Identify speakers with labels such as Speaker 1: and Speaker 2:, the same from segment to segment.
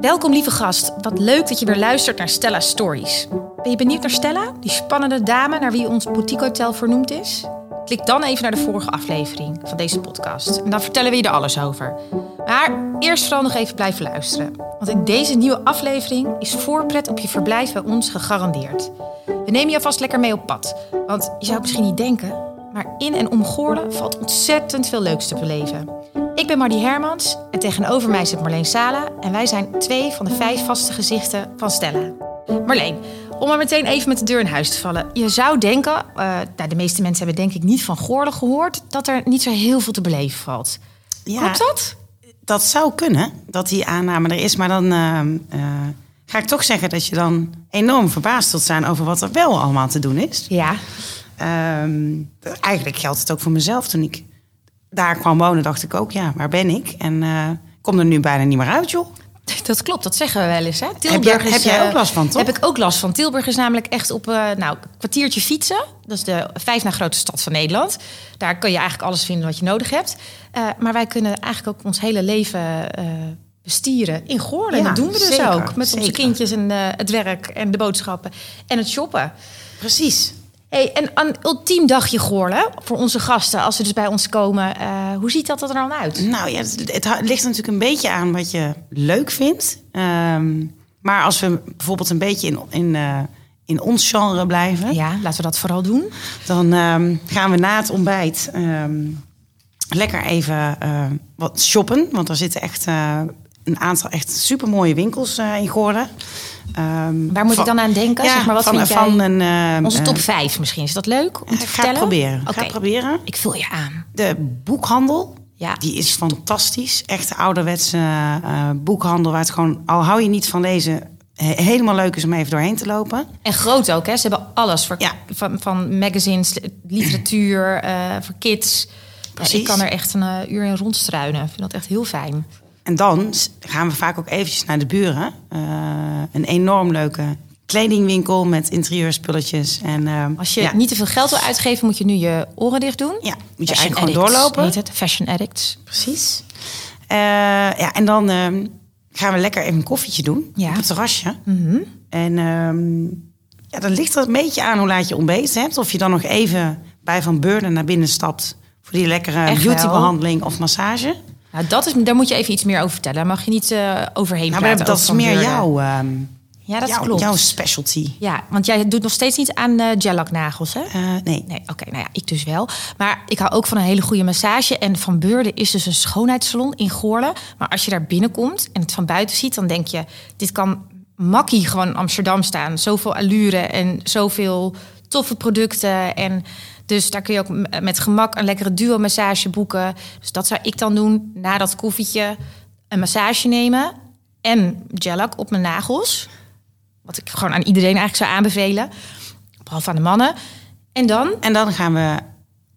Speaker 1: Welkom lieve gast. Wat leuk dat je weer luistert naar Stella's Stories. Ben je benieuwd naar Stella, die spannende dame naar wie ons boutique hotel vernoemd is? Klik dan even naar de vorige aflevering van deze podcast en dan vertellen we je er alles over. Maar eerst vooral nog even blijven luisteren, want in deze nieuwe aflevering is voorpret op je verblijf bij ons gegarandeerd. We nemen je alvast lekker mee op pad, want je zou het misschien niet denken, maar in en om Goorlen valt ontzettend veel leuks te beleven. Ik ben Mardi Hermans en tegenover mij zit Marleen Sala en wij zijn twee van de vijf vaste gezichten van Stella. Marleen, om maar meteen even met de deur in huis te vallen. Je zou denken, eh, nou, de meeste mensen hebben denk ik niet van Goorlen gehoord, dat er niet zo heel veel te beleven valt.
Speaker 2: Ja,
Speaker 1: Klopt dat?
Speaker 2: dat zou kunnen, dat die aanname er is. Maar dan ehm, eh, ga ik toch zeggen dat je dan enorm verbaasd zult zijn over wat er wel allemaal te doen is.
Speaker 1: Ja.
Speaker 2: Ehm, eigenlijk geldt het ook voor mezelf. Toen ik daar kwam wonen, dacht ik ook, ja, waar ben ik? En eh, ik kom er nu bijna niet meer uit, joh.
Speaker 1: Dat klopt, dat zeggen we wel eens. Hè?
Speaker 2: jij-
Speaker 1: is,
Speaker 2: heb jij
Speaker 1: eh,
Speaker 2: ook last van, toch?
Speaker 1: Heb ik ook last van. Tilburg is namelijk echt op eh nou, een kwartiertje fietsen. Dat is de vijf na grootste stad van Nederland. Daar kun je eigenlijk alles vinden wat je nodig hebt. Eh, maar wij kunnen eigenlijk ook ons hele leven eh, bestieren in Goorlen. en
Speaker 2: Ja,
Speaker 1: dat doen we dus
Speaker 2: zeker,
Speaker 1: ook. Met onze
Speaker 2: zeker.
Speaker 1: kindjes en eh, het werk en de boodschappen en het shoppen.
Speaker 2: Precies.
Speaker 1: Hey, en een ultiem dagje Goorlen voor onze gasten. Als ze dus bij ons komen. eh, hoe ziet dat er dan uit?
Speaker 2: Nou ja, het, het ha- ligt natuurlijk een beetje aan wat je leuk vindt. Ehm, maar als we bijvoorbeeld een beetje in, in, eh, in ons genre blijven...
Speaker 1: Ja, laten we dat vooral doen.
Speaker 2: Dan ehm, gaan we na het ontbijt ehm, lekker even eh, wat shoppen. Want er zitten echt eh, een aantal echt supermooie winkels eh, in Goorden. Ehm,
Speaker 1: Waar moet
Speaker 2: van-
Speaker 1: ik dan aan denken?
Speaker 2: Ja,
Speaker 1: zeg maar, wat
Speaker 2: van,
Speaker 1: vind jij...
Speaker 2: van een, ehm,
Speaker 1: Onze top
Speaker 2: eh,
Speaker 1: 5 misschien. Is dat leuk om te
Speaker 2: ga ik
Speaker 1: vertellen?
Speaker 2: proberen.
Speaker 1: Oké.
Speaker 2: Ga ik proberen.
Speaker 1: Ik vul je aan.
Speaker 2: De boekhandel.
Speaker 1: Ja.
Speaker 2: Die is fantastisch. Echt de ouderwetse eh, boekhandel. Waar het gewoon, al hou je niet van lezen, he- helemaal leuk is om even doorheen te lopen.
Speaker 1: En groot ook, hè? Ze hebben alles. Voor,
Speaker 2: Ja.
Speaker 1: van, van magazines, literatuur, eh, voor kids.
Speaker 2: Precies.
Speaker 1: Ja, ik kan er echt een eh, uur in rondstruinen. Ik vind dat echt heel fijn.
Speaker 2: En dan s- gaan we vaak ook eventjes naar de buren. Eh, een enorm leuke kledingwinkel met interieurspulletjes. En, ehm,
Speaker 1: Als je
Speaker 2: ja,
Speaker 1: niet te veel geld wil uitgeven, moet je nu je oren dicht doen.
Speaker 2: ja, moet je
Speaker 1: Fashion
Speaker 2: eigenlijk gewoon
Speaker 1: addicts
Speaker 2: doorlopen.
Speaker 1: Heet het? Fashion addicts.
Speaker 2: Precies. Eh, ja, en dan ehm, gaan we lekker even een koffietje doen
Speaker 1: Ja. Mhm.
Speaker 2: op het terrasje. En ehm, ja, dan ligt er een beetje aan hoe laat je ontbeten hebt. Of je dan nog even bij Van Beurden naar binnen stapt voor die lekkere
Speaker 1: Echt wel.
Speaker 2: beautybehandeling of massage.
Speaker 1: Nou, dat is, daar moet je even iets meer over vertellen. Daar mag je niet eh, overheen
Speaker 2: Nou, maar
Speaker 1: praten.
Speaker 2: dat
Speaker 1: over
Speaker 2: is
Speaker 1: Van
Speaker 2: meer
Speaker 1: Beurden.
Speaker 2: jouw, ehm,
Speaker 1: Ja, dat
Speaker 2: jouw,
Speaker 1: klopt.
Speaker 2: jouw specialty.
Speaker 1: Ja, want jij doet nog steeds niet aan eh gelaknagels, hè?
Speaker 2: Eh, nee.
Speaker 1: Nee, oké, nou ja, ik dus wel. Maar ik hou ook van een hele goede massage. En Van Beurden is dus een schoonheidssalon in Goorlen. Maar als je daar binnenkomt en het van buiten ziet, dan denk je... dit kan makkie gewoon in Amsterdam staan. Zoveel allure en zoveel toffe producten. En dus daar kun je ook m- met gemak een lekkere duo-massage boeken. Dus dat zou ik dan doen na dat koffietje. Een massage nemen en gelak op mijn nagels. Wat ik gewoon aan iedereen eigenlijk zou aanbevelen. Behalve aan de mannen. En dan
Speaker 2: En dan gaan we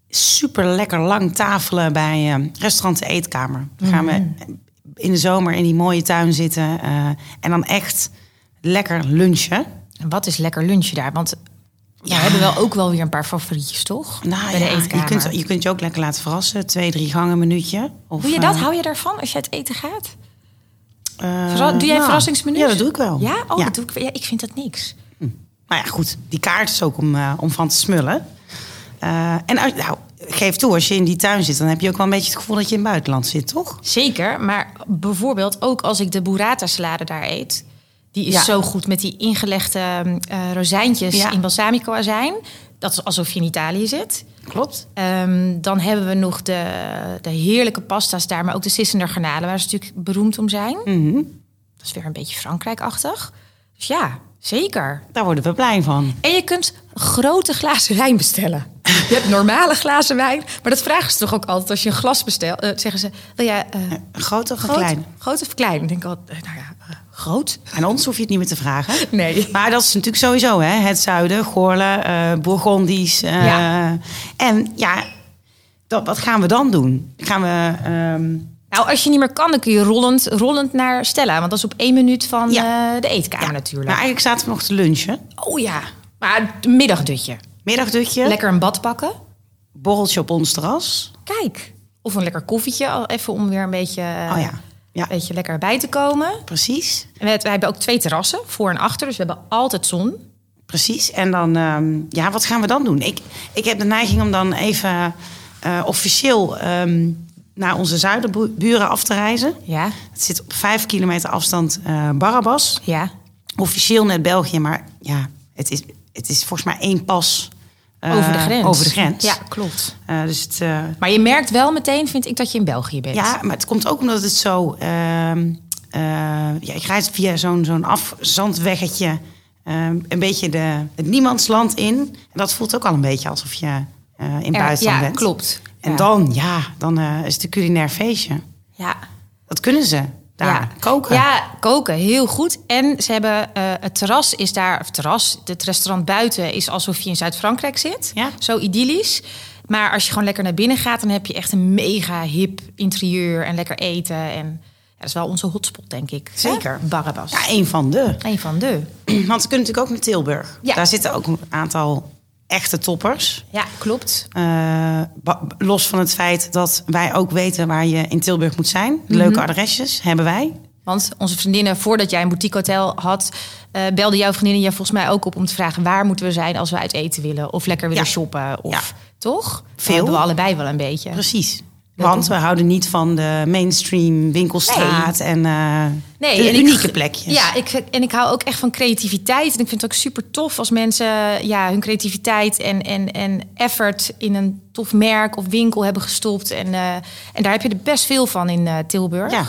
Speaker 2: super lekker lang tafelen bij eh, restaurant de Eetkamer. Dan gaan we in de zomer in die mooie tuin zitten eh, en dan echt lekker lunchen.
Speaker 1: En wat is lekker lunchje daar? Want we hebben wel ook wel weer een paar favorietjes, toch?
Speaker 2: Ah. Nou
Speaker 1: Bij de
Speaker 2: ja, je
Speaker 1: eetkamer.
Speaker 2: kunt, je kunt je ook lekker laten verrassen. Twee, drie gangen minuutje. Of,
Speaker 1: Doe je dat?
Speaker 2: eh,
Speaker 1: Hou je daarvan als je uit eten gaat?
Speaker 2: eh,
Speaker 1: Verra- doe jij een
Speaker 2: nou,
Speaker 1: verrassingsmenu?
Speaker 2: Ja, dat doe ik wel.
Speaker 1: Ja? Oh, Dat doe ik, ja, ik vind dat niks.
Speaker 2: Nou ja, goed. Die kaart is ook om, eh, om van te smullen. Eh, en uit- nou, geef toe, als je in die tuin zit... dan heb je ook wel een beetje het gevoel dat je in het buitenland zit, toch?
Speaker 1: Zeker, maar bijvoorbeeld ook als ik de burrata salade daar eet. Die is
Speaker 2: Ja.
Speaker 1: zo goed met die ingelegde eh, rozijntjes
Speaker 2: Ja.
Speaker 1: in balsamico-azijn. Dat is alsof je in Italië zit.
Speaker 2: Klopt.
Speaker 1: Ehm, dan hebben we nog de, de heerlijke pasta's daar, maar ook de Sissender garnalen, waar ze natuurlijk beroemd om zijn.
Speaker 2: Mhm.
Speaker 1: Dat is weer een beetje Frankrijk-achtig. Dus ja, zeker.
Speaker 2: Daar worden we blij van.
Speaker 1: En je kunt grote glazen wijn bestellen. Je hebt normale glazen wijn, maar dat vragen ze toch ook altijd als je een glas bestelt. eh, zeggen ze, wil jij eh,
Speaker 2: Groot of
Speaker 1: groot,
Speaker 2: klein?
Speaker 1: groot of klein? Ik denk altijd, eh, nou ja, eh, groot?
Speaker 2: Aan ons hoef je het niet meer te vragen.
Speaker 1: Nee.
Speaker 2: Maar dat is natuurlijk sowieso, hè? Het zuiden, Goorlen, eh Bourgondisch. eh,
Speaker 1: Ja.
Speaker 2: En ja, dat, wat gaan we dan doen? Gaan we... ehm,
Speaker 1: Nou, als je niet meer kan, dan kun je rollend, rollend naar Stella. Want dat is op één minuut van
Speaker 2: Ja.
Speaker 1: eh, de eetkamer natuurlijk.
Speaker 2: Maar eigenlijk zaten we nog te lunchen.
Speaker 1: oh ja, maar een middagdutje.
Speaker 2: Middagdutje,
Speaker 1: Lekker een bad pakken.
Speaker 2: borreltje op ons terras.
Speaker 1: Kijk. Of een lekker koffietje, al even om weer een beetje...
Speaker 2: Oh ja. Ja.
Speaker 1: Weet je, lekker bij te komen.
Speaker 2: Precies,
Speaker 1: En we, we hebben ook twee terrassen, voor en achter. Dus we hebben altijd zon.
Speaker 2: precies. En dan, ehm, ja, wat gaan we dan doen? Ik, ik heb de neiging om dan even eh, officieel ehm, naar onze zuiderburen af te reizen.
Speaker 1: Ja,
Speaker 2: Het zit op vijf kilometer afstand eh Barabas.
Speaker 1: ja.
Speaker 2: Officieel net België, maar ja, het is, het is volgens mij één pas eh,
Speaker 1: Over de grens.
Speaker 2: Over de grens.
Speaker 1: Ja, klopt.
Speaker 2: Eh, dus het, eh,
Speaker 1: Maar je merkt wel meteen, vind ik, dat je in België bent.
Speaker 2: Ja, maar het komt ook omdat het zo. ehm, eh, ja, ik rijd via zo'n zo'n afzandweggetje. ehm, een beetje de, het niemandsland in. En dat voelt ook al een beetje alsof je eh, in
Speaker 1: Er-
Speaker 2: buitenland
Speaker 1: ja,
Speaker 2: bent.
Speaker 1: klopt.
Speaker 2: En
Speaker 1: Ja.
Speaker 2: dan, ja, dan eh, is het een culinair feestje.
Speaker 1: Ja.
Speaker 2: Dat kunnen ze daar
Speaker 1: ja.
Speaker 2: koken.
Speaker 1: Ja, koken, heel goed. En ze hebben eh, het terras is daar, of terras, het restaurant buiten is alsof je in Zuid-Frankrijk zit.
Speaker 2: Ja.
Speaker 1: Zo idyllisch. Maar als je gewoon lekker naar binnen gaat, dan heb je echt een mega hip interieur en lekker eten. En ja, dat is wel onze hotspot, denk ik. hè?
Speaker 2: Zeker.
Speaker 1: Barabbas.
Speaker 2: Ja, een van de.
Speaker 1: Een van de.
Speaker 2: Want ze kunnen natuurlijk ook naar Tilburg.
Speaker 1: Ja.
Speaker 2: Daar zitten ook een aantal echte toppers.
Speaker 1: Ja, klopt.
Speaker 2: Eh, ba- los van het feit dat wij ook weten waar je in Tilburg moet zijn.
Speaker 1: Mhm.
Speaker 2: Leuke adresjes hebben wij.
Speaker 1: Want onze vriendinnen, voordat jij een boutiquehotel had, eh belde jouw vriendinnen je volgens mij ook op om te vragen waar moeten we zijn als we uit eten willen. Of lekker willen
Speaker 2: Ja.
Speaker 1: shoppen. Of
Speaker 2: Ja.
Speaker 1: toch?
Speaker 2: Veel.
Speaker 1: Dat hebben we allebei wel een beetje.
Speaker 2: Precies. Want we houden niet van de mainstream winkelstraat en eh, de
Speaker 1: en ik-
Speaker 2: unieke plekjes.
Speaker 1: Ja, ik, en ik hou ook echt van creativiteit. En ik vind het ook super tof als mensen ja, hun creativiteit en, en, en effort in een tof merk of winkel hebben gestopt. En, eh, en daar heb je er best veel van in eh, Tilburg.
Speaker 2: Ja.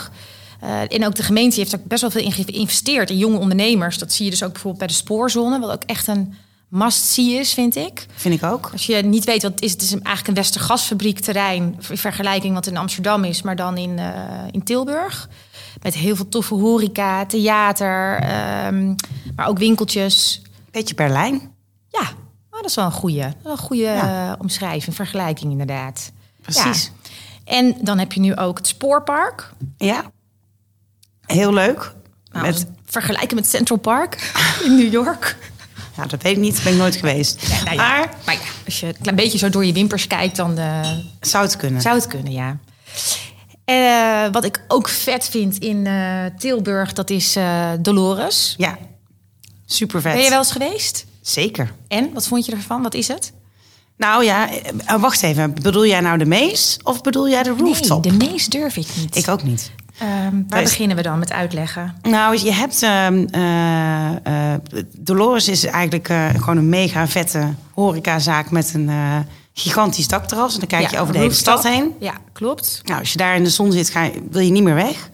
Speaker 1: Eh, en ook de gemeente heeft er best wel veel in geïnvesteerd in jonge ondernemers. Dat zie je dus ook bijvoorbeeld bij de spoorzone, wat ook echt een must-see is, vind ik.
Speaker 2: Vind ik ook.
Speaker 1: Als je niet weet wat het is, het is een- eigenlijk een Westergasfabriekterrein... in vergelijking wat in Amsterdam is, maar dan in, eh, in Tilburg. Met heel veel toffe horeca, theater, ehm, maar ook winkeltjes.
Speaker 2: Beetje Berlijn.
Speaker 1: Ja, oh, dat is wel een goede, dat is wel een goede
Speaker 2: Ja.
Speaker 1: eh, omschrijving, vergelijking inderdaad.
Speaker 2: Precies.
Speaker 1: Ja. En dan heb je nu ook het spoorpark.
Speaker 2: Ja. Heel leuk.
Speaker 1: Nou,
Speaker 2: Met,
Speaker 1: Vergelijken met Central Park in New York.
Speaker 2: ja, dat weet ik niet, ben ik nooit geweest.
Speaker 1: Ja, nou ja.
Speaker 2: Maar
Speaker 1: Maar ja, als je een klein beetje zo door je wimpers kijkt, dan... eh,
Speaker 2: zou het kunnen.
Speaker 1: Zou het kunnen, ja. Eh, wat ik ook vet vind in eh, Tilburg, dat is eh, Dolores.
Speaker 2: Ja, super vet.
Speaker 1: Ben je wel eens geweest?
Speaker 2: Zeker.
Speaker 1: En, wat vond je ervan? Wat is het?
Speaker 2: Nou ja, eh, wacht even. Bedoel jij nou de mees of bedoel jij de rooftop?
Speaker 1: Nee, de meest durf ik niet.
Speaker 2: Ik ook niet.
Speaker 1: Ehm, waar
Speaker 2: Daar is-
Speaker 1: beginnen we dan met uitleggen?
Speaker 2: Nou, je hebt. ehm, eh, eh, Dolores is eigenlijk eh, gewoon een mega vette horecazaak met een eh, gigantisch dakterras. En dan kijk je
Speaker 1: Ja,
Speaker 2: over de hele
Speaker 1: rooftop.
Speaker 2: stad heen.
Speaker 1: Ja, klopt.
Speaker 2: Nou, als je daar in de zon zit, ga je, wil je niet meer weg.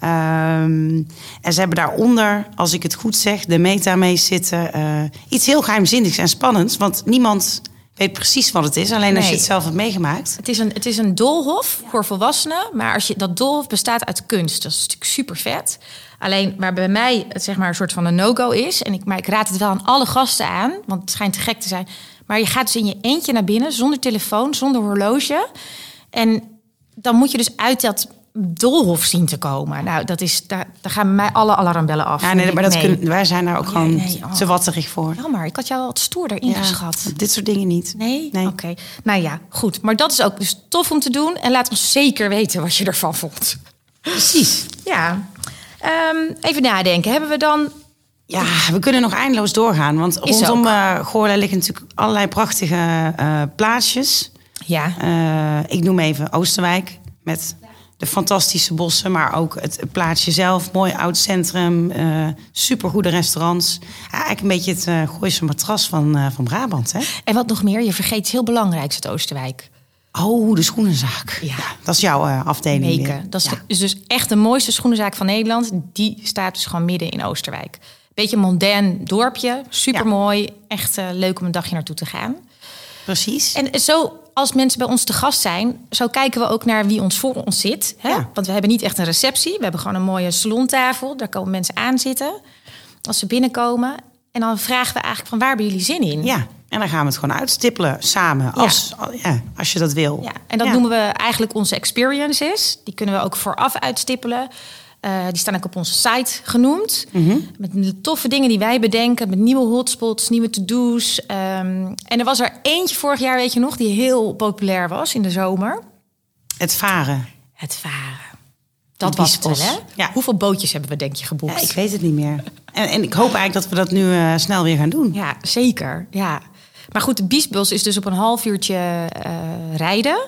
Speaker 2: Ehm, en ze hebben daaronder, als ik het goed zeg, de meta mee zitten. eh, iets heel geheimzinnigs en spannends, want niemand weet precies wat het is. Alleen als je
Speaker 1: Nee.
Speaker 2: het zelf hebt meegemaakt.
Speaker 1: Het is een, het is een doolhof voor volwassenen. Maar als je, dat doolhof bestaat uit kunst. Dat is natuurlijk super vet. Alleen waar bij mij het zeg maar een soort van een no-go is. En ik, maar ik raad het wel aan alle gasten aan. Want het schijnt te gek te zijn. Maar je gaat dus in je eentje naar binnen. Zonder telefoon, zonder horloge. En dan moet je dus uit dat doolhof zien te komen. Nou, dat is, daar, daar gaan bij mij alle alarmbellen af.
Speaker 2: Ja, nee,
Speaker 1: Ik
Speaker 2: maar dat
Speaker 1: mee.
Speaker 2: kunnen, wij zijn daar ook
Speaker 1: Ja,
Speaker 2: gewoon
Speaker 1: nee, oh.
Speaker 2: te watterig voor.
Speaker 1: Jammer, ik had jou wel wat stoerder
Speaker 2: Ja,
Speaker 1: ingeschat.
Speaker 2: dit soort dingen niet.
Speaker 1: Nee? Oké. Nou ja, goed. Maar dat is ook dus tof om te doen. En laat ons zeker weten wat je ervan vond.
Speaker 2: precies.
Speaker 1: Ja. Ehm, even nadenken. Hebben we dan...
Speaker 2: Ja, we kunnen nog eindeloos doorgaan. Want rondom eh Goorlen liggen natuurlijk allerlei prachtige eh, plaatsjes.
Speaker 1: Ja.
Speaker 2: Eh, ik noem even Oosterwijk met de fantastische bossen, maar ook het plaatsje zelf. Mooi oud centrum, eh supergoede restaurants. Ja, eigenlijk een beetje het eh Gooise matras van, eh, van Brabant, hè?
Speaker 1: En wat nog meer? Je vergeet iets heel belangrijks uit Oosterwijk.
Speaker 2: Oh, de schoenenzaak.
Speaker 1: Ja.
Speaker 2: dat is jouw eh, afdeling weer.
Speaker 1: Meken. Dat is,
Speaker 2: Ja.
Speaker 1: de- is dus echt de mooiste schoenenzaak van Nederland. Die staat dus gewoon midden in Oosterwijk. Beetje een mondain dorpje. Supermooi. Echt eh, leuk om een dagje naartoe te gaan.
Speaker 2: Precies.
Speaker 1: En zo, als mensen bij ons te gast zijn, zo kijken we ook naar wie ons voor ons zit. Hè?
Speaker 2: Ja.
Speaker 1: Want we hebben niet echt een receptie. We hebben gewoon een mooie salontafel. Daar komen mensen aan zitten als ze binnenkomen. En dan vragen we eigenlijk van waar hebben jullie zin in?
Speaker 2: Ja, en dan gaan we het gewoon uitstippelen samen. Als, al- ja, als je dat wil.
Speaker 1: Ja, en dat
Speaker 2: Ja.
Speaker 1: noemen we eigenlijk onze experiences. Die kunnen we ook vooraf uitstippelen. Eh, die staan ook op onze site genoemd.
Speaker 2: Mhm.
Speaker 1: Met toffe dingen die wij bedenken. Met nieuwe hotspots, nieuwe to-do's. Ehm, en er was er eentje vorig jaar, weet je nog, die heel populair was in de zomer.
Speaker 2: Het varen.
Speaker 1: Het varen. Dat was het wel,
Speaker 2: biesbos.
Speaker 1: hè?
Speaker 2: Ja.
Speaker 1: Hoeveel bootjes hebben we denk je geboekt?
Speaker 2: Ja, ik weet het niet meer. En, en ik hoop eigenlijk dat we dat nu eh, snel weer gaan doen.
Speaker 1: Ja, zeker. Ja. Maar goed, de biesbos is dus op een half uurtje eh, rijden.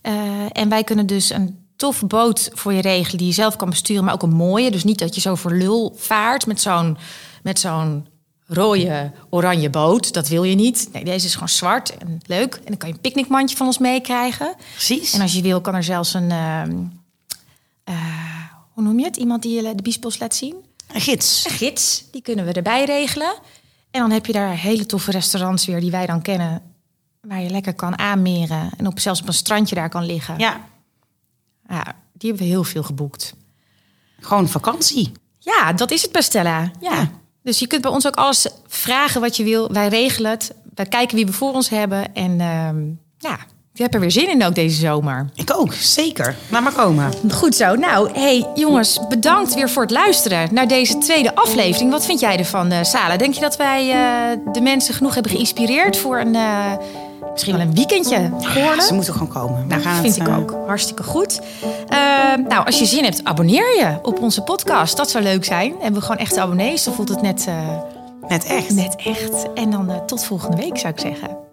Speaker 1: Eh, en wij kunnen dus een tof boot voor je regelen die je zelf kan besturen, maar ook een mooie. Dus niet dat je zo voor lul vaart met zo'n, met zo'n rode oranje boot. Dat wil je niet. Nee, deze is gewoon zwart en leuk. En dan kan je een picknickmandje van ons meekrijgen.
Speaker 2: Precies.
Speaker 1: En als je wil, kan er zelfs een. ehm, eh, hoe noem je het? Iemand die je de biesbos laat zien?
Speaker 2: Een gids.
Speaker 1: een gids, die kunnen we erbij regelen. En dan heb je daar hele toffe restaurants weer die wij dan kennen. Waar je lekker kan aanmeren en op, zelfs op een strandje daar kan liggen.
Speaker 2: Ja,
Speaker 1: Ja, die hebben we heel veel geboekt.
Speaker 2: gewoon vakantie.
Speaker 1: Ja, dat is het bij Stella. Ja.
Speaker 2: Ja.
Speaker 1: Dus je kunt bij ons ook alles vragen wat je wil. Wij regelen het. Wij kijken wie we voor ons hebben. En ehm, ja, je hebt er weer zin in ook deze zomer.
Speaker 2: Ik ook, zeker. Laat maar komen.
Speaker 1: Goed zo. Nou, hey jongens, bedankt weer voor het luisteren naar deze tweede aflevering. Wat vind jij ervan, eh Sala? Denk je dat wij eh, de mensen genoeg hebben geïnspireerd voor een, eh, misschien wel een weekendje? Goorlen?
Speaker 2: Ze moeten gewoon komen. We
Speaker 1: Nou,
Speaker 2: gaan
Speaker 1: vind
Speaker 2: het,
Speaker 1: ik
Speaker 2: eh,
Speaker 1: ook. Hartstikke goed. Eh, nou, als je zin hebt, abonneer je op onze podcast. Dat zou leuk zijn. Hebben we gewoon echte abonnees, dan voelt het net, eh,
Speaker 2: Net echt.
Speaker 1: net echt. En dan eh, tot volgende week, zou ik zeggen.